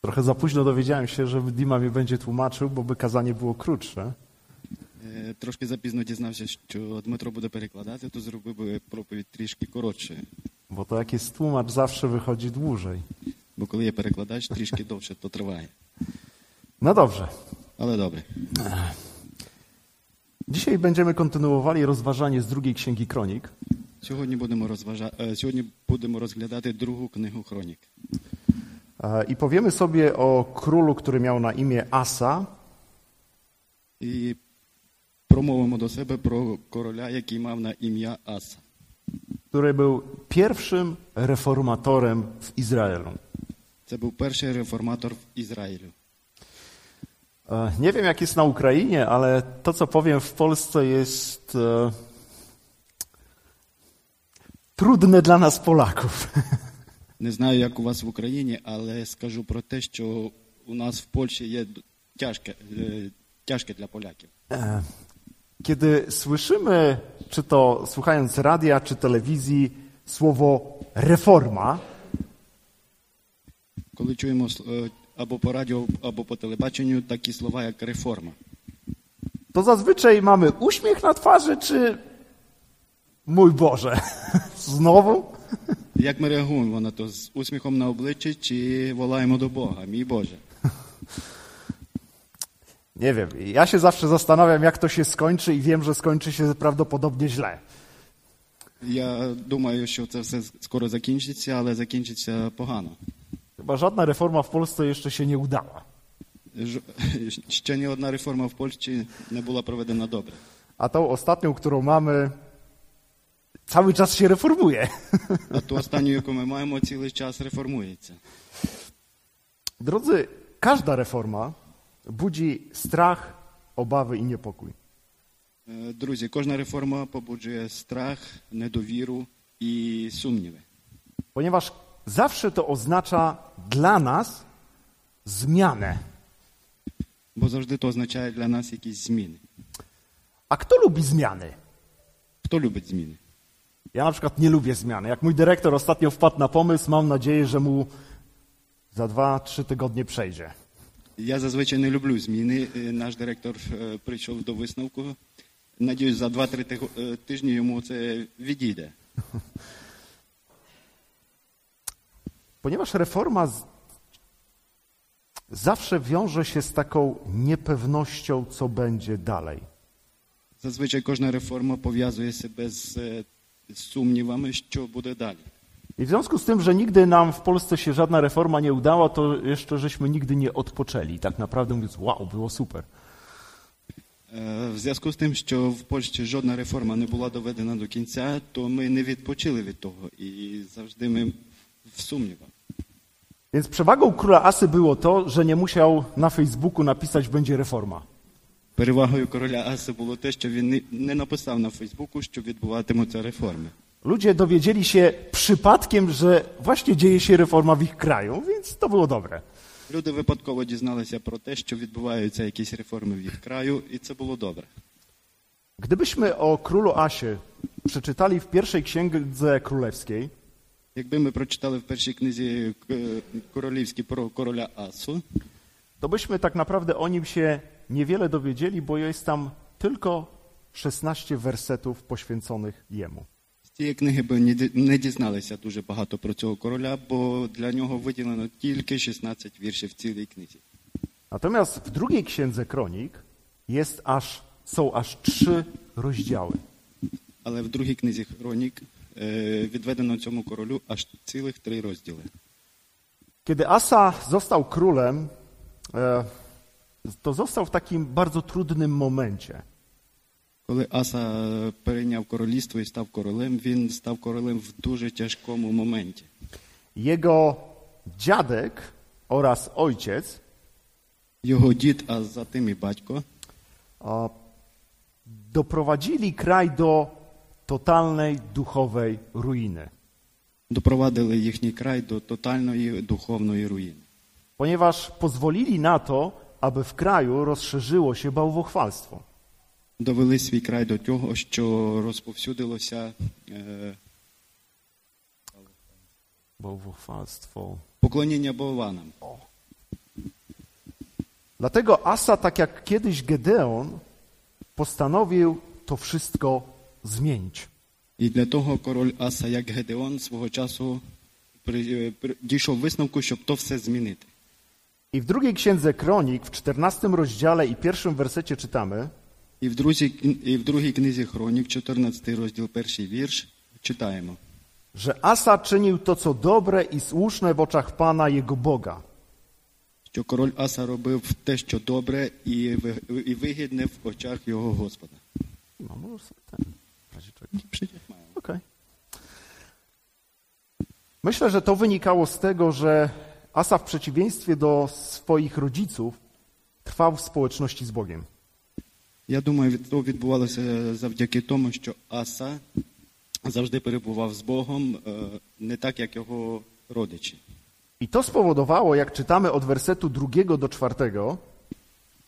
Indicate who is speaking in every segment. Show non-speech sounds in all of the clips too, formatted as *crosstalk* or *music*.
Speaker 1: Trochę za późno dowiedziałem się, że Dima mnie będzie tłumaczył, bo by kazanie było krótsze.
Speaker 2: Е, Трошки запізно дізнався, що Дмитро буде перекладати, то зробив би проповідь trішки коротше.
Speaker 1: Bo to jak jest tłumacz, zawsze wychodzi dłużej.
Speaker 2: Бо коли є перекладач, трішки довше то триває.
Speaker 1: No dobrze.
Speaker 2: Але добре.
Speaker 1: Dzisiaj będziemy kontynuowali rozważanie z drugiej księgi kronik.
Speaker 2: Сьогодні будемо розважа... е, сьогодні будемо розглядати другу книгу хронік.
Speaker 1: E, I powiemy sobie o królu, który miał na imię Asa.
Speaker 2: І промовимо до себе про короля, який мав на ім'я Аса.
Speaker 1: który był pierwszym reformatorem w Izraelu.
Speaker 2: Це був перший реформатор в Ізраїлю.
Speaker 1: E, Nie wiem, jak jest na Ukrainie, ale to, co powiem w Polsce, jest e, trudne dla nas, Polaków. *laughs*
Speaker 2: Не знаю, як у вас в Україні, але скажу про те, що у нас в Польщі є д- тяжке, е, тяжке для поляків.
Speaker 1: E, Kiedy słyszymy, czy to słuchając radia, czy telewizji, słowo reforma,
Speaker 2: Коли чуємо е, або по радіо, або по телебаченню такі слова, як реформа,
Speaker 1: to zazwyczaj mamy uśmiech na twarzy, czy mój Boże, *laughs* znowu?
Speaker 2: як ми реагуємо на то з усміхом на обличчі чи волаємо до Бога, мій Боже.
Speaker 1: Nie wiem. Ja się zawsze zastanawiam, jak to się skończy, i wiem, że skończy się prawdopodobnie źle.
Speaker 2: Я думаю, що це все скоро закінчиться, але закінчиться pogano.
Speaker 1: Chyba żadna reforma w Polsce jeszcze się nie udała.
Speaker 2: Ж... *laughs* Ще ні одна реформа в Польщі не була проведена добре.
Speaker 1: A tą ostatnią, którą mamy, cały czas się reformuje.
Speaker 2: А ту останню, яку ми маємо, цілий час реформується.
Speaker 1: Drodzy, każda reforma budzi strach, obawy i niepokój.
Speaker 2: Е, Друзі, кожна реформа побуджує страх, недовіру і сумніви.
Speaker 1: Ponieważ zawsze to oznacza dla nas zmianę.
Speaker 2: Бо завжди то означає для нас якісь зміни.
Speaker 1: A kto lubi zmiany?
Speaker 2: Хто любить зміни?
Speaker 1: Ja na przykład nie lubię zmian. Jak mój dyrektor ostatnio wpadł na pomysł, mam nadzieję, że mu za dwa, trzy tygodnie przejdzie.
Speaker 2: Я зазвичай не люблю зміни. Е, Наш директор е, прийшов до висновку. Надіюсь, за 2-3 тиг- е, тижні йому це відійде.
Speaker 1: Ponieważ reforma z... zawsze wiąże się z taką niepewnością, co będzie dalej.
Speaker 2: Зазвичай кожна реформа пов'язує себе з е, з сумнівами, що буде dалі.
Speaker 1: I w związku z tym, że nigdy nam w Polsce się żadna reforma nie udała, to jeszcze żeśmy nigdy nie odpoczęli. Tak naprawdę mówiąc, wow, było super.
Speaker 2: Е, В зв'язку з тим, що в Польщі жодна реформа не була доведена до кінця, то ми не відпочили від того і завжди ми в сумнівах.
Speaker 1: Więc przewagą króla Asy było to, że nie musiał na Facebooku napisać będzie reforma.
Speaker 2: Перевагою короля Аси було те, що він не- не написав на Фейсбуку, що відбуватимуться реформи.
Speaker 1: Ludzie dowiedzieli się przypadkiem, że właśnie dzieje się reforma w ich kraju, więc to było dobre.
Speaker 2: Люди випадково дізналися про те, що відбуваються jakieś реформи в їх краю, і це було добре.
Speaker 1: Gdybyśmy o królu Asie przeczytali w pierwszej księdze królewskiej,
Speaker 2: Якби ми прочитали в першій книзі е, королівській про короля Асу,
Speaker 1: to byśmy tak naprawdę o nim się niewiele dowiedzieli, bo jest tam tylko 16 wersetów poświęconych jemu.
Speaker 2: з цієї книги би ні- не дізналися дуже багато про цього короля, бо для нього виділено тільки 16 віршів в цілій книзі.
Speaker 1: Natomiast w drugiej księdze kronik jest aż, są aż trzy rozdziały.
Speaker 2: Але в другій книзі Хронік е, відведено цьому королю аж цілих три розділи.
Speaker 1: Kiedy Asa został królem, e, to został w takim bardzo trudnym momencie.
Speaker 2: Коли Аса е, перейняв королівство і став королем, він став королем в дуже тяжкому моменті.
Speaker 1: Jego dziadek oraz ojciec
Speaker 2: Його дід, а за тим і батько,
Speaker 1: e, doprowadzili kraj do totalnej duchowej ruiny.
Speaker 2: допровадили їхній край до тотальної духовної руїни,
Speaker 1: ponieważ pozwolili na to, aby w kraju rozszerzyło się bałwochwalstwo.
Speaker 2: довели свій край до того, що розповсюдилося е,
Speaker 1: Bałwochwalstwo.
Speaker 2: поклоніння болванам.
Speaker 1: Dlatego Asa, tak jak kiedyś Gedeon, postanowił to wszystko zmienić.
Speaker 2: І для того король Аса, як Гедеон, свого часу при- е, при- дійшов висновку, щоб то все змінити.
Speaker 1: I w drugiej księdze Kronik, w 14 rozdziale i pierwszym wersecie czytamy:
Speaker 2: І в, друзі, і в другій книзі Хронік, 14 розділ, перший вірш, читаємо.
Speaker 1: że Asa czynił to, co dobre i słuszne w oczach Pana jego Boga.
Speaker 2: що король Аса робив те, що добре і ви- і вигідне в очах його Господа.
Speaker 1: No, możesz sobie ten. w razie czego. Okej. Myślę, że to wynikało z tego, że Asa w przeciwieństwie do swoich rodziców trwał w społeczności z Bogiem.
Speaker 2: Я думаю, від- то відбувалося е, завдяки тому, що Аса завжди перебував з Богом, е, не так, як його родичі.
Speaker 1: I to spowodowało, jak czytamy od wersetu drugiego do czwartego,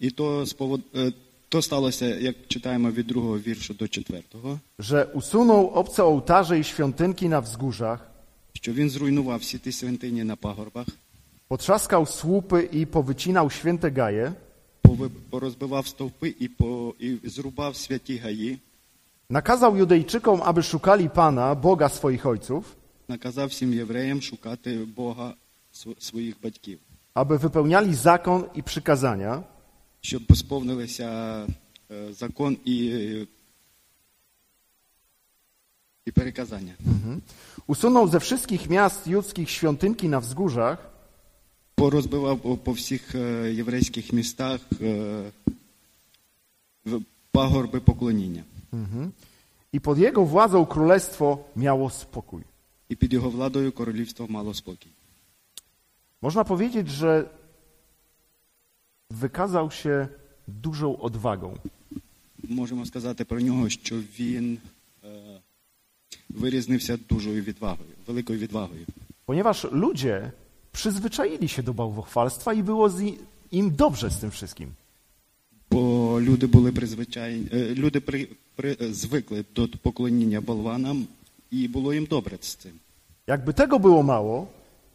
Speaker 2: І то, сповод... е, то сталося, як читаємо від другого віршу до четвертого,
Speaker 1: że usunął obce ołtarze i świątynki na wzgórzach,
Speaker 2: що він зруйнував всі ті святині на пагорбах,
Speaker 1: potrzaskał słupy i powycinał święte gaje,
Speaker 2: пови- порозбивав стовпи і, по... і зрубав святі гаї,
Speaker 1: nakazał Judejczykom, aby szukali Pana, Boga swoich ojców,
Speaker 2: наказав всім євреям шукати Бога св- своїх батьків,
Speaker 1: aby wypełniali zakon i przykazania,
Speaker 2: щоб сповнилися е, закон і, е, і переказання.
Speaker 1: Usunął ze wszystkich miast judzkich świątynki na wzgórzach,
Speaker 2: Порозбивав по- по всіх е, єврейських містах е, в- пагорби поклоніння.
Speaker 1: i pod jego władzą królestwo miało spokój.
Speaker 2: І під його владою королівство мало спокій.
Speaker 1: Można powiedzieć, że wykazał się dużą odwagą.
Speaker 2: Можемо сказати про нього, що він е, вирізнився дужою відвагою, великою відвагою.
Speaker 1: Ponieważ ludzie przyzwyczaili się do bałwochwalstwa i było z im dobrze z tym wszystkim.
Speaker 2: Бо люди були призвичайні, е, люди при, при, е, звикли до поклоніння болванам, і було їм добре з цим.
Speaker 1: Jakby tego było mało,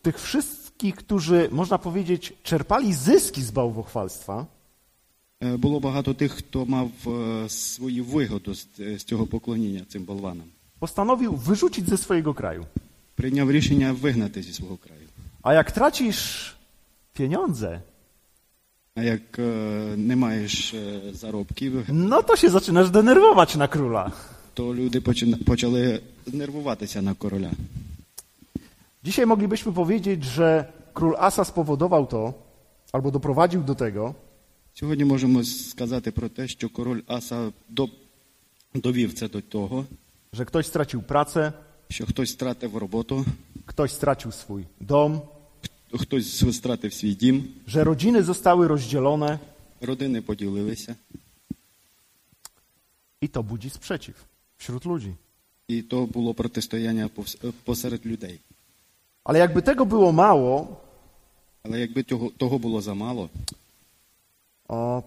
Speaker 1: tych wszystkich, którzy, można powiedzieć, czerpali zyski z bałwochwalstwa,
Speaker 2: Е, Було багато тих, хто мав е, свою вигоду з, е, з цього поклоніння цим болванам.
Speaker 1: postanowił wyrzucić ze swojego kraju.
Speaker 2: Прийняв рішення вигнати зі свого краю.
Speaker 1: A jak tracisz pieniądze,
Speaker 2: А як е, не маєш е, заробків,
Speaker 1: No to się zaczynasz denerwować на króla.
Speaker 2: то люди почина, почали нервуватися на короля.
Speaker 1: Dzisiaj moglibyśmy powiedzieć, że król Asa spowodował to, albo doprowadził do tego,
Speaker 2: Сьогодні можемо сказати про те, що король Аса до, довів це до того,
Speaker 1: że ktoś stracił pracę,
Speaker 2: що хтось втратив роботу,
Speaker 1: ktoś stracił swój dom,
Speaker 2: хтось втратив свій дім,
Speaker 1: że rodziny zostały rozdzielone
Speaker 2: родини поділилися,
Speaker 1: i to budzi sprzeciw wśród ludzi.
Speaker 2: і то було протистояння повс- е, посеред людей.
Speaker 1: Ale jakby tego było mało,
Speaker 2: Але якби того, того було замало,
Speaker 1: o,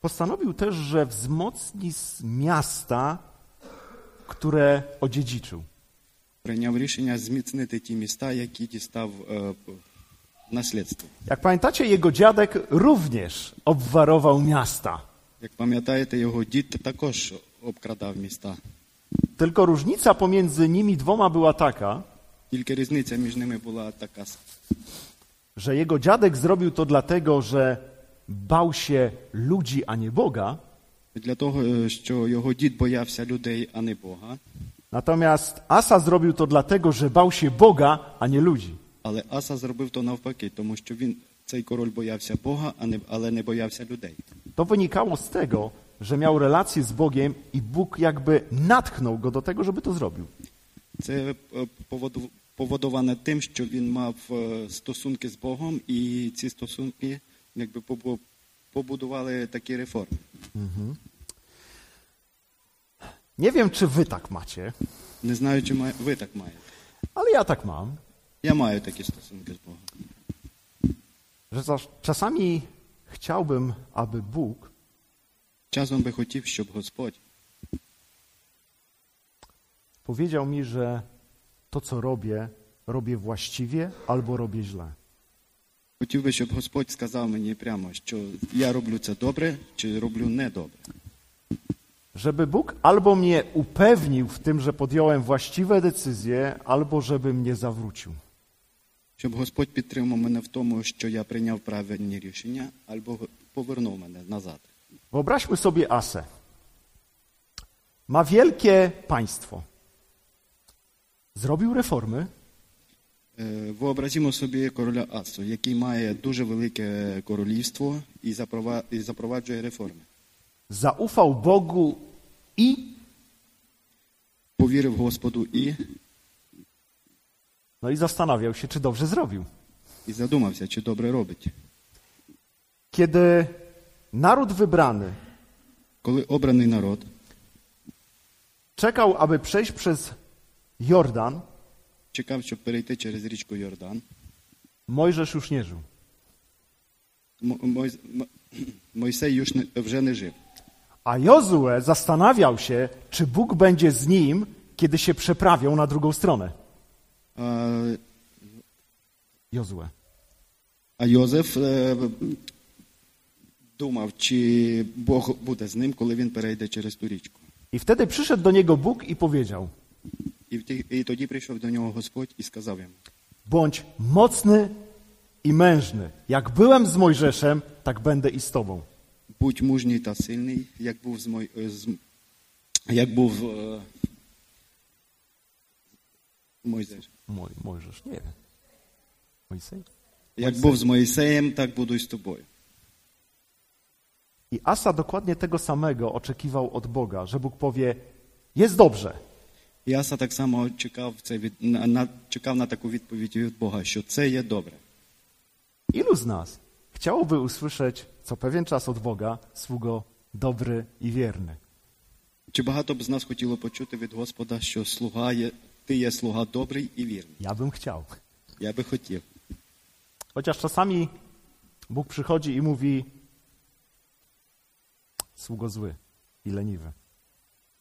Speaker 1: postanowił też, że wzmocni z miasta, które odziedziczył.
Speaker 2: прийняв рішення зміцнити ті міста, які дістав е, п- наслідство.
Speaker 1: Jak pamiętacie, jego dziadek również obwarował miasta.
Speaker 2: Як пам'ятаєте, його дід також обкрадав міста.
Speaker 1: Tylko różnica pomiędzy nimi dwoma była taka,
Speaker 2: Тільки різниця між ними була така. с-
Speaker 1: że jego dziadek zrobił to dlatego, że bał się ludzi, a nie Boga,
Speaker 2: Для того, е, що його дід боявся людей, а не Бога.
Speaker 1: natomiast Asa zrobił to dlatego, że bał się Boga, a nie ludzi.
Speaker 2: Але Аса зробив то навпаки, тому що він цей король боявся Бога, а не але не боявся людей.
Speaker 1: To wynikało z tego, że miał relacje z Bogiem i Bóg jakby natchnął go do tego, żeby to zrobił.
Speaker 2: Це е, поводу- поводоване тим, що він мав е, стосунки з Богом, і ці стосунки якби побу- побудували такі реформи.
Speaker 1: Nie wiem, czy wy tak macie,
Speaker 2: Не знаю, чи має- ви так маєте.
Speaker 1: ale ja tak mam,
Speaker 2: Я маю такі стосунки з Богом.
Speaker 1: że zaż- czasami chciałbym, aby Bóg
Speaker 2: Часом би хотів, щоб Господь
Speaker 1: powiedział mi, że to, co robię, robię właściwie albo robię źle.
Speaker 2: Хотів би, щоб Господь сказав мені прямо, що я роблю це добре чи роблю недобре.
Speaker 1: Żeby Bóg albo mnie upewnił w tym, że podjąłem właściwe decyzje, albo żeby mnie zawrócił.
Speaker 2: Щоб Господь підтримав мене в тому, що я прийняв правильні рішення, або повернув мене назад.
Speaker 1: Wyobraźmy sobie Asę. Ma wielkie państwo. Zrobił reformy,
Speaker 2: Е, Вообразімо собі короля Асу, який mає дуже велике королівство і запрова- і запроваджує реформи.
Speaker 1: zaufał Bogu i
Speaker 2: Повірив Господу і,
Speaker 1: no i zastanawiał się, czy dobrze zrobił.
Speaker 2: і задумався, чи добре робить.
Speaker 1: Kiedy naród wybrany
Speaker 2: Коли обраний народ
Speaker 1: czekał, aby przejść przez Jordan,
Speaker 2: чекав, щоб перейти через річку Йордан,
Speaker 1: Mojżesz już nie żył.
Speaker 2: Мо- Мойс- Мо- *clears throat* Мойсей юж не- вже не жив.
Speaker 1: A Jozue zastanawiał się, czy Bóg będzie z nim, kiedy się przeprawią na drugą stronę.
Speaker 2: А,
Speaker 1: Jozue.
Speaker 2: А Йозеф е, думав, чи Бог буде з ним, коли він перейде через ту річку.
Speaker 1: I wtedy przyszedł do niego Bóg i powiedział:
Speaker 2: І, вті- і тоді прийшов до нього Господь і сказав йому:
Speaker 1: Bądź mocny i mężny. Jak byłem z Mojżeszem, tak będę i z tobą.
Speaker 2: Будь мужній та сильний, як був з мой, е, з, як був е, Мойсей.
Speaker 1: Moj, Mojżesz, nie wiem. Mojsej?
Speaker 2: Як був з Моїсеєм, так буду і з тобою.
Speaker 1: I Asa dokładnie tego samego oczekiwał od Boga, że Bóg powie: Jest dobrze.
Speaker 2: І Аса так само чекав це від на, на чекав на таку відповідь від Бога, що це є добре.
Speaker 1: Ilu z nas chciałoby usłyszeć co pewien czas od Boga, sługo dobry i wierny?
Speaker 2: Чи багато б з нас хотіло почути від Господа, що слуга є, ти є слуга добрий і вірний?
Speaker 1: Ja bym chciał.
Speaker 2: Я би хотів.
Speaker 1: Chociaż czasami Bóg przychodzi i mówi: Sługo zły i leniwy.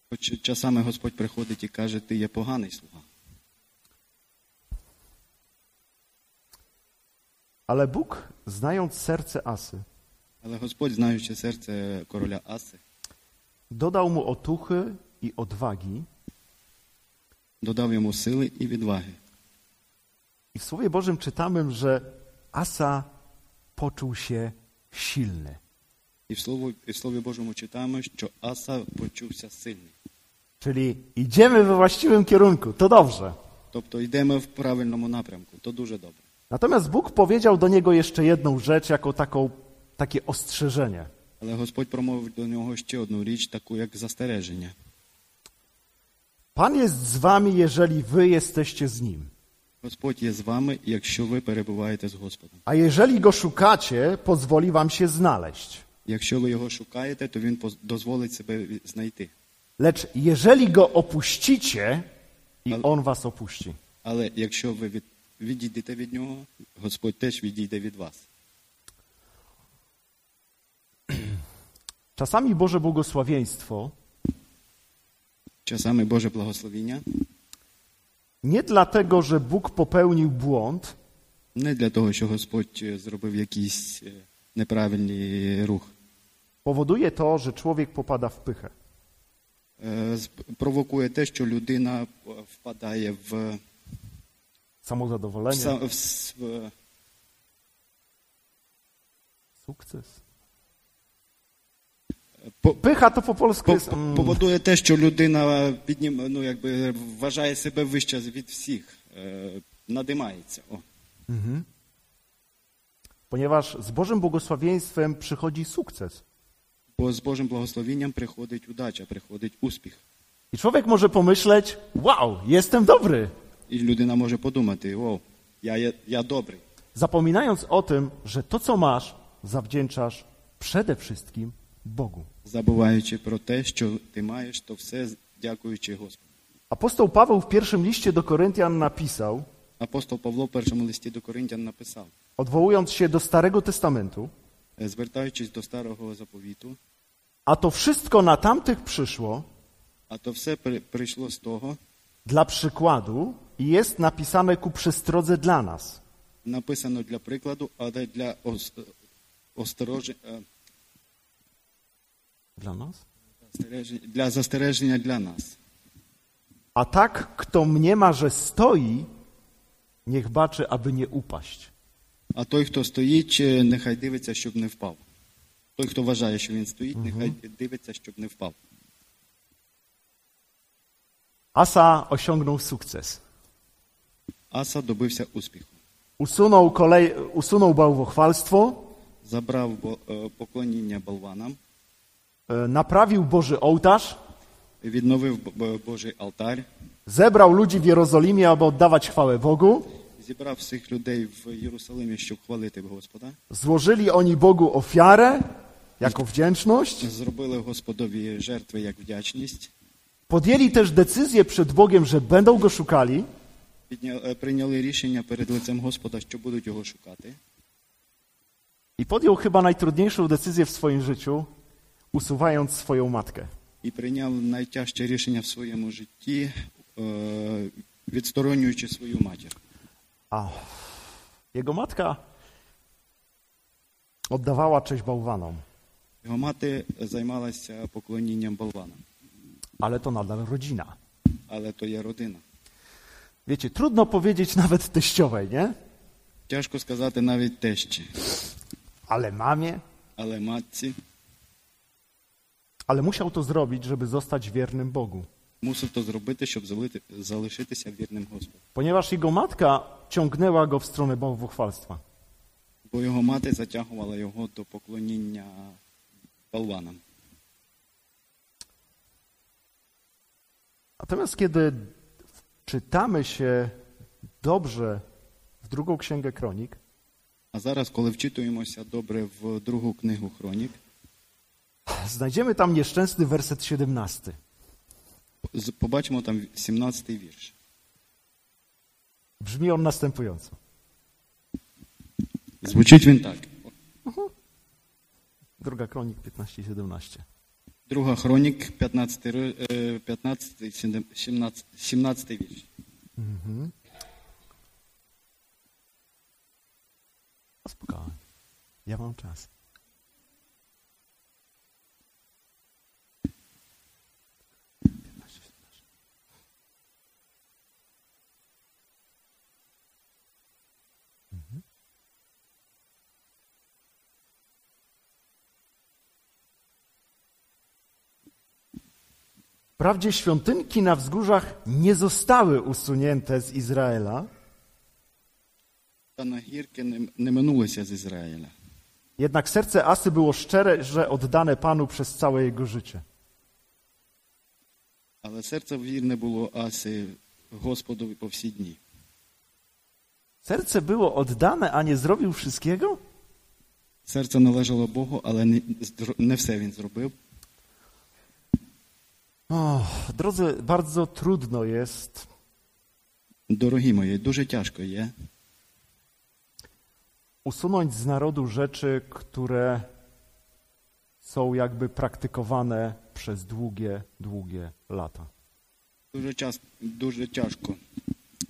Speaker 2: Хоч часами Господь приходить і каже, ти є поганий слуга.
Speaker 1: Ale Bóg, znając serce Asy,
Speaker 2: Але Господь, знаючи серце короля Аси,
Speaker 1: dodał mu otuchy i odwagi.
Speaker 2: додав йому сили і відваги.
Speaker 1: I w Słowie Bożym czytamy, że Asa poczuł się silny.
Speaker 2: І в слові, і в слові Божому читаємо, що Аса почувся сильний.
Speaker 1: Czyli idziemy we właściwym kierunку, to dobrze.
Speaker 2: Тобто йдемо в правильному напрямку, то дуже добре.
Speaker 1: Natomiast Bóg powiedział do niego jeszcze jedną rzecz, jako taką, takie ostrzeżenie.
Speaker 2: Але Господь промовив до нього ще одну річ, таку як застереження.
Speaker 1: Pan jest z wami, jeżeli wy jesteście z nim.
Speaker 2: Господь є з вами, якщо ви перебуваєте з Господом.
Speaker 1: A jeżeli go szukacie, pozwoli wam się znaleźć.
Speaker 2: Якщо ви його шукаєте, то він поз- дозволить себе ві- знайти.
Speaker 1: Lecz jeżeli go opuścicie, i
Speaker 2: Ale-
Speaker 1: on was opuści.
Speaker 2: Але якщо ви від, відійдете від нього, Господь теж відійде від вас.
Speaker 1: Czasami Boże błogosławieństwo
Speaker 2: Часами Боже благословіння
Speaker 1: nie dlatego, że Bóg popełnił błąd,
Speaker 2: не для того, що Господь е, зробив якийсь е, неправильний рух.
Speaker 1: powoduje to, że człowiek popada w pychę.
Speaker 2: Е, з- Провокує те, що людина е, впадає в, в,
Speaker 1: Samozadowolenie,
Speaker 2: са- в, с- в
Speaker 1: sukces.
Speaker 2: по-
Speaker 1: Pycha to po polsku
Speaker 2: По-
Speaker 1: jest...
Speaker 2: по-
Speaker 1: Mm,
Speaker 2: Поводує те, що людина піднім, ну, якби, вважає себе вище від всіх, е, надимається. О.
Speaker 1: ponieważ z Bożym błogosławieństwem przychodzi sukces.
Speaker 2: Бо з Божим благословінням приходить удача, приходить успіх.
Speaker 1: I człowiek może pomyśleć, wow, jestem dobry,
Speaker 2: І людина може подумати, о, я, я, я добрий.
Speaker 1: zapominając o tym, że to, co masz, zawdzięczasz przede wszystkim Bogu.
Speaker 2: Забуваючи про те, що ти маєш, то все дякуючи Господу.
Speaker 1: Apostoł Paweł w pierwszym liście do Koryntian napisał,
Speaker 2: Апостол Павло в першому листі до Коринтян написав,
Speaker 1: odwołując się do Starego Testamentu,
Speaker 2: е, звертаючись до старого заповіту,
Speaker 1: a to wszystko na tamtych przyszło
Speaker 2: а то все при- прийшло з того,
Speaker 1: dla przykładu i jest napisane ku przestrodze dla nas,
Speaker 2: написано для прикладу, але для ос- осторожи- е,
Speaker 1: Dla nas?
Speaker 2: застережень- для застереження для нас.
Speaker 1: A tak, kto mniema, że stoi, niech baczy, aby nie upaść.
Speaker 2: А той, хто стоїть, е, нехай дивиться, щоб не впав. Той, хто вважає, що він стоїть, нехай дивиться, щоб не впав.
Speaker 1: Asa osiągnął sukces.
Speaker 2: Аса добився успіху.
Speaker 1: Usunął, kolej, usunął bałwochwalstwo,
Speaker 2: Забрав бо- е, поклоніння болванам,
Speaker 1: e, naprawił Boży ołtarz,
Speaker 2: відновив б- б- Божий алтар,
Speaker 1: zebrał ludzi w Jerozolimie, aby oddawać chwałę Bogu.
Speaker 2: зібрав всіх людей в Єрусалимі, щоб хвалити Господа.
Speaker 1: Złożyli oni Bogu ofiarę jako wdzięczność.
Speaker 2: Зробили Господові жертви як вдячність.
Speaker 1: Podjęli też decyzję przed Bogiem, że będą go szukali.
Speaker 2: Підня- е, Прийняли рішення перед лицем Господа, що будуть його шукати.
Speaker 1: I podjął chyba najtrudniejszą decyzję w swoim życiu, usuwając swoją matkę.
Speaker 2: І прийняв найтяжче рішення в своєму житті, е, відсторонюючи свою матір.
Speaker 1: A jego matka oddawała cześć bałwanom,
Speaker 2: Його мати займалася поклонінням болванам,
Speaker 1: ale to nadal rodzina.
Speaker 2: але то є родина.
Speaker 1: Wiecie, trudno powiedzieć *laughs* nawet teściowej, nie?
Speaker 2: Тяжко сказати навіть тещі,
Speaker 1: Ale mamie,
Speaker 2: але матці
Speaker 1: ale musiał to zrobić, żeby zostać wiernym Bogu.
Speaker 2: мусив то зробити, щоб залити- залишитися вірним Господу.
Speaker 1: Ponieważ jego matka ciągnęła go w stronę bałwochwalstwa.
Speaker 2: Бо його мати затягувала його до поклоніння болванам.
Speaker 1: Natomiast kiedy czytamy się dobrze w drugą księgę kronik,
Speaker 2: А зараз, коли вчитуємося добре в другу книгу хронік,
Speaker 1: znajdziemy tam nieszczęsny werset 17.
Speaker 2: з- побачимо там 17-й вірш.
Speaker 1: Brzmi on następująco.
Speaker 2: Звучить він так.
Speaker 1: Druga kronik 15 i 17.
Speaker 2: Друга хронік, е, 15, 15 17, 17 вірш.
Speaker 1: No Spokojnie. Ja mam czas. Mhm. Wprawdzie świątynki na wzgórzach nie zostały usunięte z Izraela,
Speaker 2: Та на гірки не, не минулося з Ізраїля.
Speaker 1: Jednak serce Asy było szczere, że oddane Panu przez całe jego życie.
Speaker 2: Але серце вірне було Аси Господові по всі дні.
Speaker 1: Serce było oddane, a nie zrobił wszystkiego?
Speaker 2: Серце належало Богу, але не, здро- не все він зробив.
Speaker 1: O, drodzy, bardzo trudno jest
Speaker 2: Дорогі мої, дуже тяжко є
Speaker 1: usunąć z narodu rzeczy, które są jakby praktykowane przez długie, długie lata.
Speaker 2: Дуже час, дуже тяжко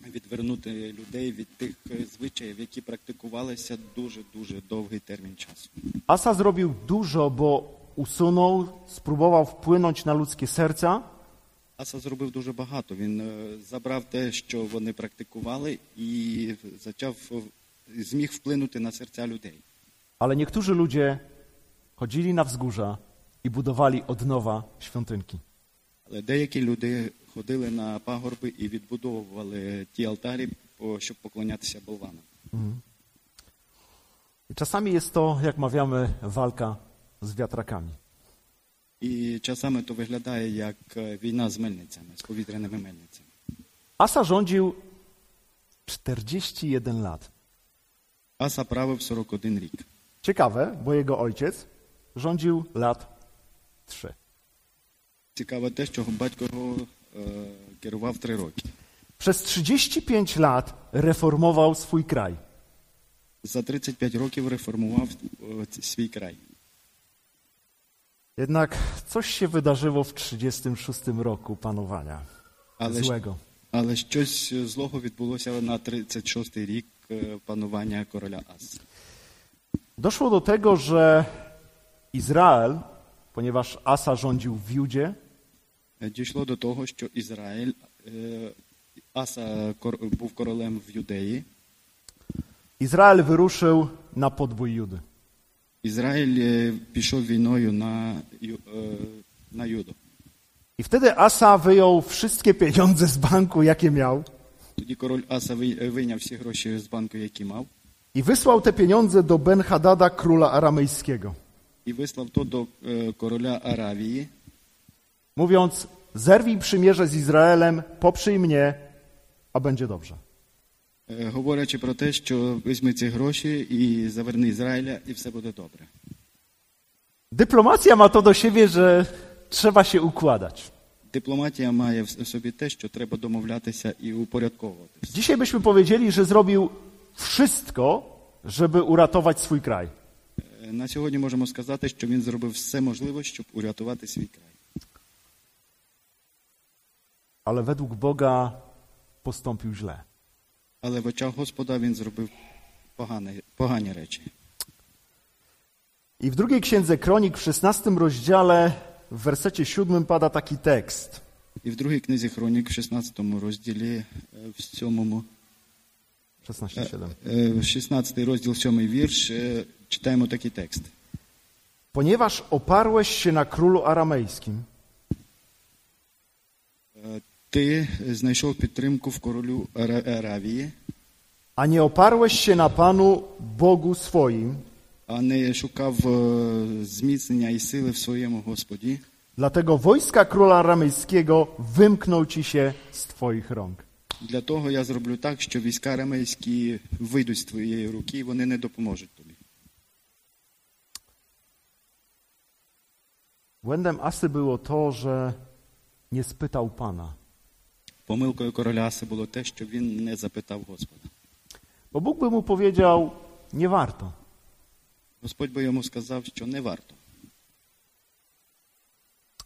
Speaker 2: відвернути людей від тих е, звичаїв, які практикувалися дуже дуже довгий термін часу.
Speaker 1: Asa zrobił dużo, bo usunął, spróbował wpłynąć na ludzkie serca,
Speaker 2: Аса зробив дуже багато. Він е, забрав те, що вони практикували, і зачав е, зміг вплинути на серця людей.
Speaker 1: ale niektórzy ludzie chodzili na wzgórza i budowali od nowa świątynki.
Speaker 2: Але деякі люди ходили на пагорби і відбудовували ті алтарі, по- щоб поклонятися болванам.
Speaker 1: I Czasami jest to, jak mawiamy, walka z wiatrakami.
Speaker 2: І часами то виглядає як е, війна з мельницями, з повітряними мельницями.
Speaker 1: Asa rządził 41 lat.
Speaker 2: Аса правив 41 рік.
Speaker 1: Ciekawe, bo jego ojciec rządził lat 3.
Speaker 2: Цікаво те, що батько його е, керував три роки.
Speaker 1: Przez 35 lat reformował swój kraj.
Speaker 2: За 35 років реформував е, ц- свій край.
Speaker 1: Jednak coś się wydarzyło w 36 roku panowania
Speaker 2: Ale-
Speaker 1: złego.
Speaker 2: е, Але щось злого відбулося на 36-й рік е, панування короля Ас.
Speaker 1: Doszło do tego, że Izrael, ponieważ Asa rządził w Judzie,
Speaker 2: Е, Дійшло до того, що Ізраїль, е, Аса кор- був королем в Юдеї.
Speaker 1: Izrael wyruszył na podbój Judy.
Speaker 2: Ізраїль е, пішов війною на, Ю- е, на Юду.
Speaker 1: I wtedy Asa wyjął wszystkie pieniądze z banku, jakie miał,
Speaker 2: Тоді король Аса ви- е, вийняв всі гроші з банку, які мав,
Speaker 1: i wysłał te pieniądze do Ben-Hadada, króla aramejskiego,
Speaker 2: і вислав то до е, короля Аравії,
Speaker 1: mówiąc: Zerwij przymierze z Izraelem, poprzyj mnie, a będzie dobrze.
Speaker 2: е, говорячи про те, що візьми ці гроші і заверни Ізраїля, і все буде добре.
Speaker 1: Dyplomacja ma to do siebie, że trzeba się układać.
Speaker 2: Дипломатія має в в собі те, що треба domовлятися і упорядковувати. все.
Speaker 1: Dzisiaj byśmy powiedzieli, że zrobił wszystko, żeby uratować swój kraj.
Speaker 2: Е, На сьогодні можемо сказати, що він зробив все можливе, щоб урятувати свій край.
Speaker 1: Ale według Boga postąpił źle.
Speaker 2: Але в очах Господа він зробив погані, погані речі.
Speaker 1: I w drugiej księdze kronik w 16 rozdziale w wersecie 7 pada taki tekst.
Speaker 2: І в другій книзі Хронік, в 16 розділі, е, в 7
Speaker 1: 16:7.
Speaker 2: Е, 16 розділ, 7 вірш, е, читаємо такий текст.
Speaker 1: Ponieważ oparłeś się na królu aramejskim,
Speaker 2: Е, Ти знайшов підтримку в королю Ара- Аравії,
Speaker 1: a nie oparłeś się na Panu Bogu swoim,
Speaker 2: а не шукав е, зміцнення і сили в своєму Господі.
Speaker 1: dlatego wojska króla aramejskiego wymknął ci się z twoich rąk.
Speaker 2: Для того я зроблю так, що війська арамейські вийдуть з твоєї руки, і вони не допоможуть тобі.
Speaker 1: Błędem Asy było to, że nie spytał Pana.
Speaker 2: Помилкою короля Аси було те, що він не запитав Господа.
Speaker 1: Bo Bóg by mu powiedział, nie warto.
Speaker 2: Господь би йому сказав, що не варто.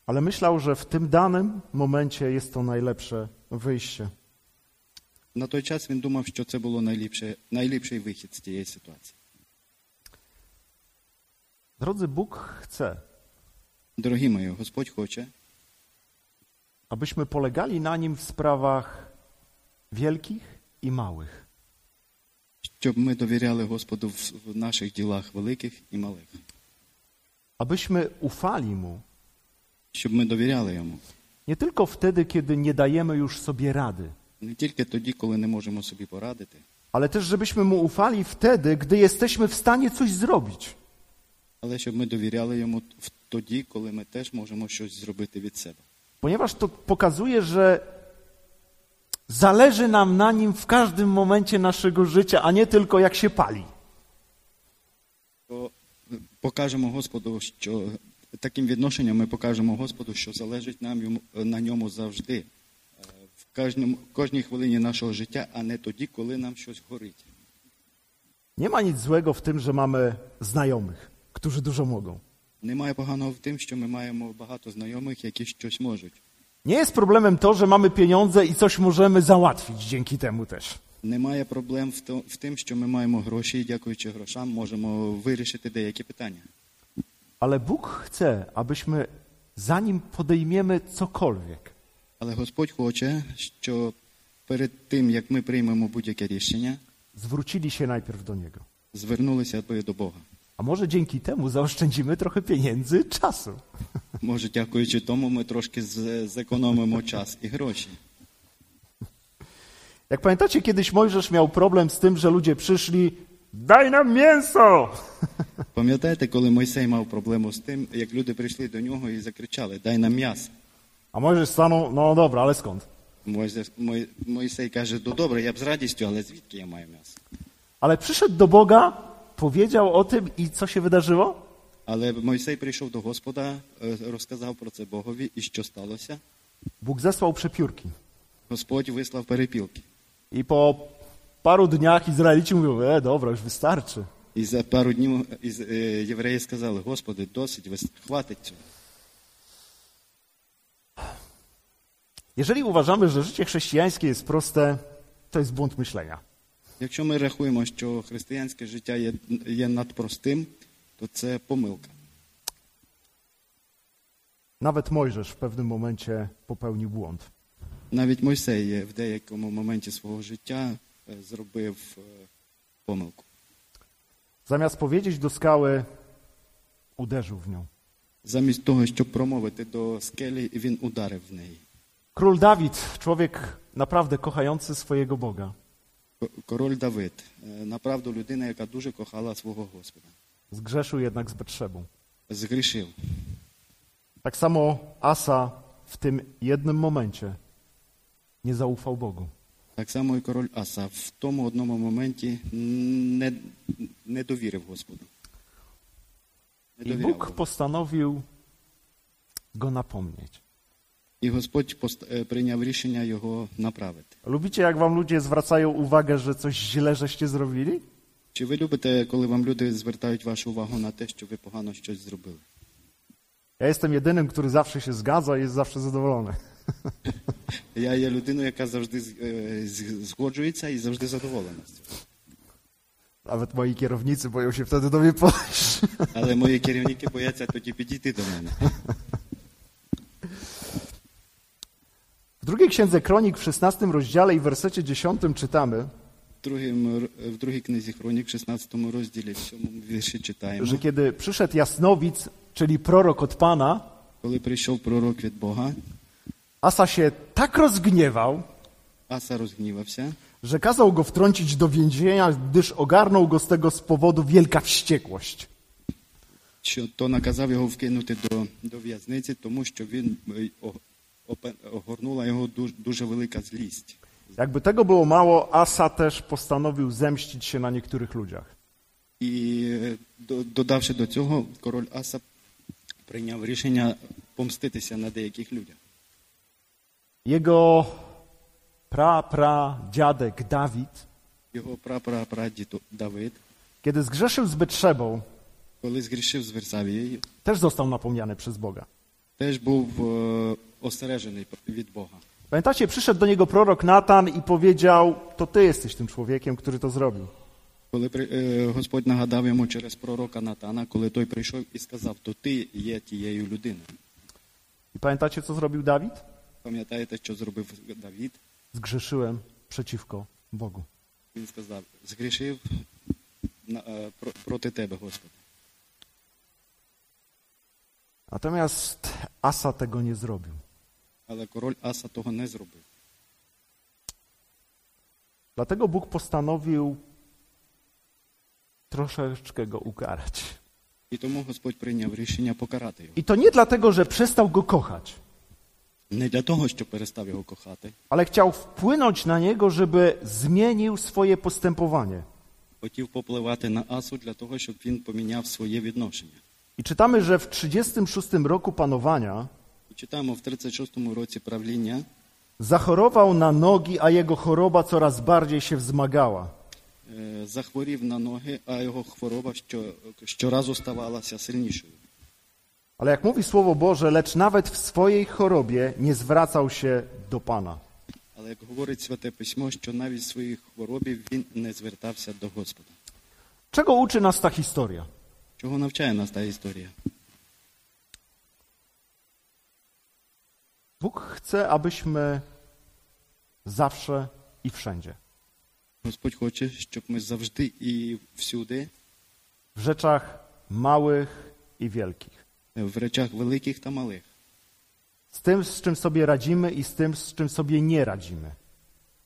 Speaker 1: Ale myślał, że w tym danym momencie jest to najlepsze wyjście.
Speaker 2: На той час він думав, що це було найліпше, найліпший вихід з тієї ситуації.
Speaker 1: Drodzy, Bóg chce,
Speaker 2: Дорогі мої, Господь хоче,
Speaker 1: abyśmy polegali na Nim w sprawach wielkich i małych.
Speaker 2: щоб ми довіряли Господу в в наших ділах великих і малих,
Speaker 1: Abyśmy ufali Mu
Speaker 2: щоб ми довіряли йому
Speaker 1: nie tylko wtedy, kiedy nie dajemy już sobie rady,
Speaker 2: не тільки тоді, коли не możемо собі порадити,
Speaker 1: ale też żebyśmy Mu ufali wtedy, gdy jesteśmy w stanie coś zrobić.
Speaker 2: але щоб ми довіряли йому в- тоді, коли ми теж можемо щось зробити від себе.
Speaker 1: Ponieważ to pokazuje, że zależy nam na nim w każdym momencie naszego życia, a nie tylko jak się pali.
Speaker 2: То е, покажемо Господу, що таким відношенням ми покажемо Господу, що залежить нам йому на ньому завжди, е, в кожному кожній хвилині нашого життя, а не тоді, коли нам щось горить.
Speaker 1: Nie ma nic złego w tym, że mamy znajomych, którzy dużo mogą.
Speaker 2: Немає поганого в тим, що ми маємо багато знайомих, які щось можуть.
Speaker 1: Nie jest problemem to, że mamy pieniądze i coś możemy załatwić dzięki temu też.
Speaker 2: Немає проблем в, то, в тим, що ми маємо гроші і дякуючи грошам можемо вирішити деякі питання.
Speaker 1: Ale Bóg chce, abyśmy zanim podejmiemy cokolwiek,
Speaker 2: Але Господь хоче, що перед тим, як ми приймемо будь-яке rішення,
Speaker 1: zwrócili się najpierw do Niego.
Speaker 2: звернулися би до Бога.
Speaker 1: A może dzięki temu zaoszczędzimy trochę pieniędzy, czasu.
Speaker 2: Може, дякуючи тому, ми трошки з- зекономимо час і гроші.
Speaker 1: Jak pamiętacie, kiedyś Mojżesz miał problem z tym, że ludzie przyszli, daj nam mięso!
Speaker 2: Пам'ятаєте, коли Мойсей мав проблему з тим, як люди прийшли до нього і закричали: Дай нам м'ясо.
Speaker 1: A Mojżesz stanął, no dobra, ale skąd?
Speaker 2: Мойзе- Мой- Мойсей каже: Ну добре, я б з радістю, але звідки я маю м'ясо?
Speaker 1: Ale przyszedł do Boga, powiedział o tym i co się wydarzyło?
Speaker 2: Але Мойсей прийшов до Господа, е, розказав про це Богові, і що сталося?
Speaker 1: Bóg zesłał przepiórki.
Speaker 2: Господь вислав перепілки.
Speaker 1: I po paru dniach Izraelici mówią, e, dobra, już wystarczy.
Speaker 2: І за пару днів із- е, євреї сказали: Господи, досить, вис- хватить цього.
Speaker 1: Jeżeli uważamy, że życie chrześcijańskie jest proste, to jest błąd myślenia.
Speaker 2: Якщо ми рахуємо, що християнське життя є, є надпростим, то це помилка.
Speaker 1: Nawet Mojżesz w pewnym momencie popełnił błąd.
Speaker 2: Навіть Мойсей є в деякому моменті свого життя е, зробив е, помилку.
Speaker 1: Zamiast powiedzieć do skały, uderzył w nią.
Speaker 2: Замість того, щоб промовити до скелі, він ударив в неї.
Speaker 1: Król Dawid, człowiek naprawdę kochający swojego Boga,
Speaker 2: К- Король Давид, е, направду людина, яка дуже кохала свого Господа,
Speaker 1: zgrzeszył jednak z Betrzebą.
Speaker 2: згрішив.
Speaker 1: Tak samo Asa w tym jednym momencie nie zaufał Bogu.
Speaker 2: Так само і король Аса в тому одному моменті не, не довірив Господу. Не
Speaker 1: I
Speaker 2: довіряв
Speaker 1: Bóg
Speaker 2: Богу.
Speaker 1: postanowił go napomnieć.
Speaker 2: І Господь пост- е, прийняв рішення його направити.
Speaker 1: Lubicie, jak wam ludzie zwracają uwagę, że coś źle żeście zrobili?
Speaker 2: Чи ви любите, коли вам люди звертають вашу увагу на те, що ви погано щось зробили?
Speaker 1: Ja jestem jedynym, który zawsze się zgadza i jest zawsze zadowolony.
Speaker 2: Я є людиною, яка завжди з- е, з- згоджується і завжди задоволена. з цього.
Speaker 1: Nawet moi kierownicy boją się wtedy do mnie *laughs* podejść.
Speaker 2: Але мої керівники бояться тоді підійти до мене.
Speaker 1: W drugiej księdze Kronik w 16 rozdziale i w wersecie 10 czytamy,
Speaker 2: В, другім, р- в другій книзі Хронік, 16 розділі, в 7 вірші читаємо.
Speaker 1: że kiedy przyszedł Jasnowic, czyli prorok od Pana,
Speaker 2: Коли прийшов пророк від Бога,
Speaker 1: Asa się tak rozgniewał,
Speaker 2: Аса розгнівався
Speaker 1: że kazał go wtrącić do więzienia, gdyż ogarnął go z tego z powodu wielka wściekłość.
Speaker 2: що то наказав його вкинути до, до в'язниці, тому що він е, о- опе- огорнула його дуже, дуже велика злість.
Speaker 1: Jakby tego było mało, Asa też postanowił zemścić się na niektórych ludziach.
Speaker 2: І е, до- додавши до цього, король Аса прийняв рішення помститися на деяких людях.
Speaker 1: Jego pra, pra dziadek Dawid,
Speaker 2: Його прапрапрадід Давид,
Speaker 1: kiedy zgrzeszył z Betrzebą,
Speaker 2: коли згрішив з Версавією,
Speaker 1: też został napomniany przez Boga.
Speaker 2: теж був е, остережений від Бога.
Speaker 1: Pamiętacie, przyszedł do niego prorok Natan i powiedział: To ty jesteś tym człowiekiem, który to zrobił.
Speaker 2: Коли при- е, Господь нагадав йому через пророка Натана, коли той прийшов і сказав, то ти є тією людиною.
Speaker 1: I pamiętacie, co zrobił Dawid?
Speaker 2: Пам'ятаєте, що зробив Давід?
Speaker 1: Zgrzeszyłem przeciwko Bogu.
Speaker 2: Він сказав, згрішив на- е, про- проти тебе, Господи.
Speaker 1: Natomiast Asa tego nie zrobił.
Speaker 2: Але король Аса того не зробив.
Speaker 1: Dlatego Bóg postanowił troszeczkę go ukarać.
Speaker 2: І тому Господь прийняв рішення покарати його.
Speaker 1: I to nie dlatego, że przestał go kochać,
Speaker 2: Не для того, що перестав його кохати,
Speaker 1: ale chciał wpłynąć na niego, żeby zmienił swoje postępowanie.
Speaker 2: хотів попливати на Асу для того, щоб він поміняв своє відношення.
Speaker 1: I czytamy, że w 36 roku panowania
Speaker 2: І Читаємо в 36-му році правління.
Speaker 1: zachorował na nogi, a jego choroba coraz bardziej się wzmagała.
Speaker 2: е, Захворів на ноги, а його хвороба що, щоразу ставалася сильнішою.
Speaker 1: Ale jak mówi Słowo Boże, lecz nawet w swojej chorobie nie zwracał się do Pana.
Speaker 2: Але як говорить святе письмо, що навіть в своїй хворобі він не звертався до Господа.
Speaker 1: Czego uczy nas ta historia?
Speaker 2: Чого навчає нас та історія?
Speaker 1: Bóg chce, abyśmy zawsze i wszędzie
Speaker 2: Господь хоче, щоб ми завжди і всюди,
Speaker 1: w rzeczach małych i wielkich,
Speaker 2: е, в речах великих та малих,
Speaker 1: z tym, z czym sobie radzimy i z tym, z czym sobie nie radzimy,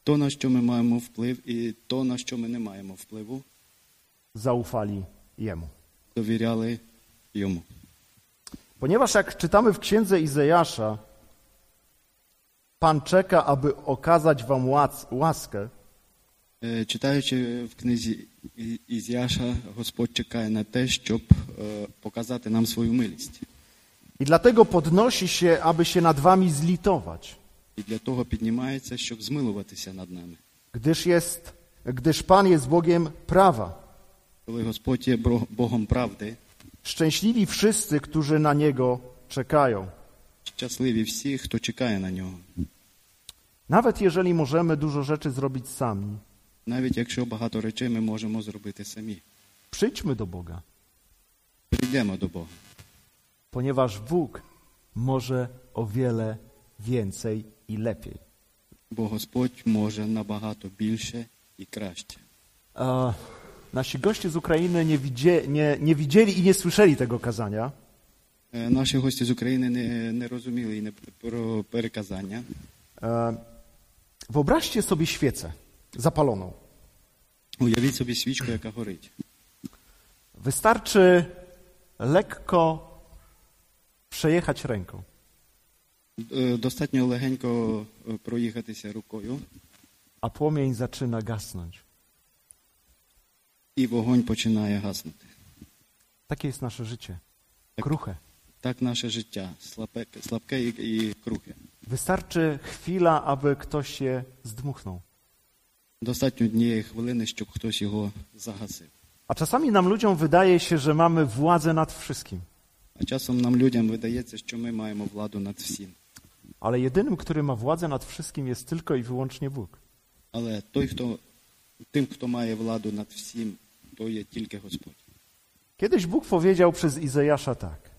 Speaker 2: то, на що ми маємо вплив, і то, на що ми не маємо впливу,
Speaker 1: zaufali Jemu.
Speaker 2: довіряли йому.
Speaker 1: Ponieważ jak czytamy w księdze Izajasza, Pan czeka, aby okazać wam łac- łaskę,
Speaker 2: Е, Читаючи в книзі І- Ізяша, Господь чекає на те, щоб е, показати нам свою милість.
Speaker 1: i dlatego podnosi się, aby się nad wami zlitować,
Speaker 2: І для того піднімається, щоб змилуватися над нами.
Speaker 1: gdyż, jest, gdyż Pan jest Bogiem prawa.
Speaker 2: Коли Господь є бро- Богом правди,
Speaker 1: Szczęśliwi wszyscy, którzy na Niego czekają.
Speaker 2: щасливі всі, хто чекає на нього.
Speaker 1: Nawet jeżeli możemy dużo rzeczy zrobić sami,
Speaker 2: навіть якщо багато речей ми можемо зробити самі.
Speaker 1: Przyjdźmy do Boga,
Speaker 2: Прийдемо до Бога,
Speaker 1: ponieważ Bóg może o wiele więcej i lepiej.
Speaker 2: бо Господь може набагато більше і краще.
Speaker 1: E, nasi goście z Ukrainy nie, widzie, nie, nie widzieli i nie słyszeli tego kazania,
Speaker 2: Е, Наші гості з України не, не розуміли і не п- про переказання.
Speaker 1: E, Wyobraźcie sobie świecę zapaloną.
Speaker 2: Уявіть собі свічку, яка горить.
Speaker 1: Wystarczy lekko przejechać ręką.
Speaker 2: Е, Достатньо легенько е, проїхатися рукою,
Speaker 1: a płomień zaczyna gasnąć.
Speaker 2: і вогонь починає гаснути.
Speaker 1: Takie jest nasze życie. Kruche.
Speaker 2: Так наше життя слабке, слабке і, і крухе.
Speaker 1: Wystarczy chwila, aby ktoś się zdmuchnął.
Speaker 2: Достатньо однієї хвилини, щоб хтось його загасив.
Speaker 1: A czasami nam ludziom wydaje się, że mamy władzę nad wszystkim,
Speaker 2: А часом нам людям видається, що ми маємо владу над всім.
Speaker 1: ale jedynym, który ma władzę nad wszystkim jest tylko i wyłącznie Bóg.
Speaker 2: Але той, хто тим, хто має владу над всім, то є тільки Господь.
Speaker 1: Kiedyś Bóg powiedział przez Izajasza tak, так: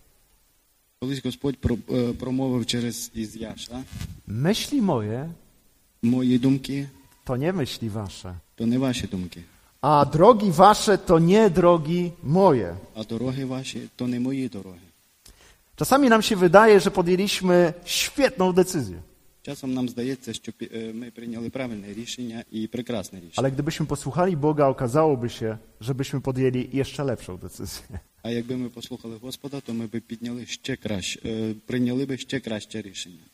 Speaker 2: Колись Господь про- е, промовив через Ізяша,
Speaker 1: Myśli moje
Speaker 2: мої думки,
Speaker 1: to nie myśli wasze,
Speaker 2: то не ваші думки,
Speaker 1: a drogi wasze to nie drogi moje.
Speaker 2: а дороги ваші, то не мої дороги.
Speaker 1: Czasami nam się wydaje, że podjęliśmy świetną decyzję,
Speaker 2: Часом нам здається, що пі- е, ми прийняли правильне rішення і прекрасне рішення.
Speaker 1: Ale gdybyśmy posłuchali Boga, okazałoby się, żebyśmy podjęli jeszcze lepszą decyzję.
Speaker 2: А якби ми послухали Господа, то ми б підняли ще краще, е, прийняли би ще краще рішення.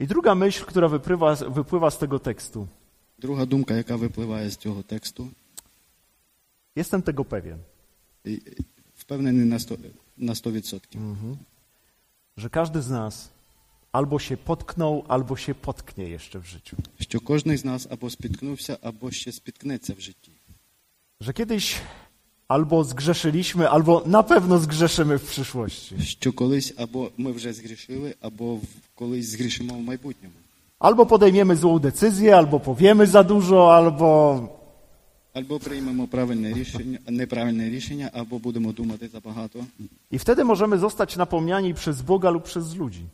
Speaker 1: I druga myśl, która wypływa, wypływa z tego tekstu.
Speaker 2: Друга думка, яка випливає з цього тексту,
Speaker 1: Jestem tego pewien,
Speaker 2: і- і впевнений на 100%. на 100%.
Speaker 1: że każdy z nas albo się potknął, albo się potknie jeszcze w życiu.
Speaker 2: що кожен з нас або спіткнувся, або ще спіткнеться в житті.
Speaker 1: Że kiedyś albo zgrzeszyliśmy, albo na pewno zgrzeszymy w przyszłości.
Speaker 2: Що колись або ми вже згрішили, або в- колись згрішимо в майбутньому.
Speaker 1: Albo podejmiemy złą decyzję, albo powiemy za dużo, albo
Speaker 2: Або приймемо правильне рішення, неправильне рішення, або будемо думати забагато.
Speaker 1: i wtedy możemy zostać napomniani przez Boga lub przez ludzi.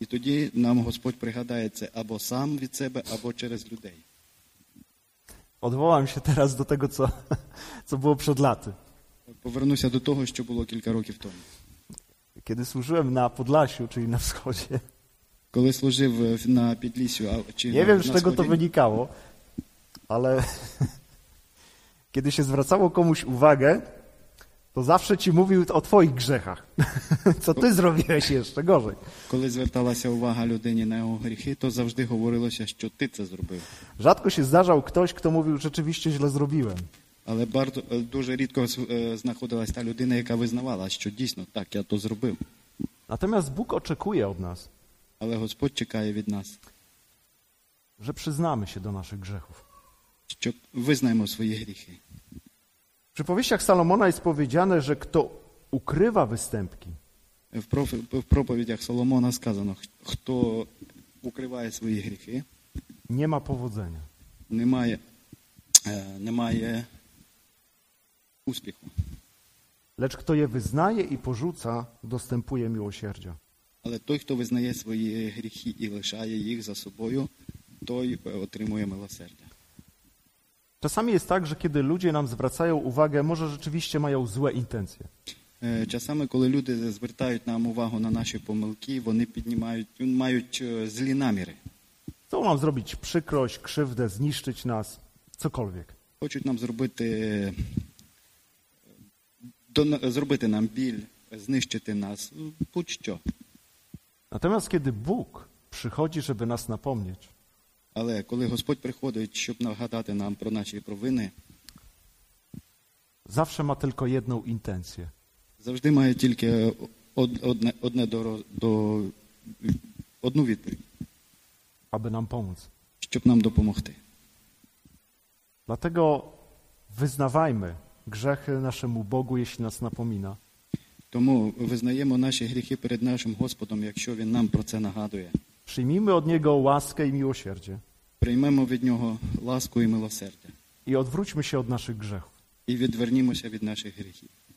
Speaker 2: І тоді нам Господь пригадає це або сам від себе, або через людей.
Speaker 1: Odwołam się teraz do tego, co, *laughs* co było przed laty.
Speaker 2: Повернуся до того, що було кілька років тому.
Speaker 1: Kiedy służyłem na Podlasiu, czyli на wschodzie,
Speaker 2: Коли служив е, на підлісю а- чи
Speaker 1: nie
Speaker 2: на,
Speaker 1: wiem, z
Speaker 2: на
Speaker 1: czego to
Speaker 2: Сході,
Speaker 1: wynikało, ale *laughs* kiedy się zwracało komuś uwagę, to zawsze ci mówił o twoich grzechach. *laughs* Co ty zrobiłeś jeszcze gorzej.
Speaker 2: коли зверталася увага людині на його гріхи, то завжди говорилося, що ти це зробив.
Speaker 1: Rzadko się zdarzał ktoś, kto mówił, rzeczywiście źle zrobiłem.
Speaker 2: Але барто е, дуже рідко е, знаходилась та людина, яка визнавала, що дійсно так я то зробив.
Speaker 1: Natomiast Bóg oczekuje od nas,
Speaker 2: Але Господь чекає від нас,
Speaker 1: że przyznamy się do naszych grzechów.
Speaker 2: що визнаємо свої гріхи.
Speaker 1: W przypowieściach Salomona jest powiedziane, że kto ukrywa występki,
Speaker 2: В проф- в проповідях Соломона сказано, х- хто укриває свої гріхи,
Speaker 1: nie ma powodzenia.
Speaker 2: не має, е, не має успіху.
Speaker 1: Lecz kto je wyznaje i porzuca, dostępuje miłosierdzia.
Speaker 2: Але той, хто визнає свої гріхи і лишає їх за собою, той е, отримує милосердя.
Speaker 1: Czasami jest tak, że kiedy ludzie nam zwracają uwagę, może rzeczywiście mają złe intencje,
Speaker 2: Е, Часами, коли люди звертають нам увагу на наші помилки, вони піднімають, мають е, злі наміри.
Speaker 1: chcą nam zrobić przykrość, krzywdę, zniszczyć nas, cokolwiek.
Speaker 2: Хочуть нам зробити, е, дон- зробити нам біль, знищити нас, ну, будь-що.
Speaker 1: Natomiast kiedy Bóg przychodzi, żeby nas napomnieć,
Speaker 2: Але коли Господь приходить, щоб нагадати нам про наші провини,
Speaker 1: zawsze ma tylko jedną intencję:
Speaker 2: завжди має тільки е, од- одне, одне до, до, одну відповідь,
Speaker 1: aby nam pomóc.
Speaker 2: щоб нам допомогти.
Speaker 1: Dlatego wyznawajmy grzechy naszemu Bogu, jeśli nas napomina,
Speaker 2: Тому визнаємо наші гріхи перед нашим Господом, якщо Він нам про це нагадує.
Speaker 1: Przyjmijmy od Niego łaskę i miłosierdzie
Speaker 2: Приймемо від Нього ласку і милосердя
Speaker 1: i odwróćmy się od naszych grzechów.
Speaker 2: і відвернімося від наших гріхів.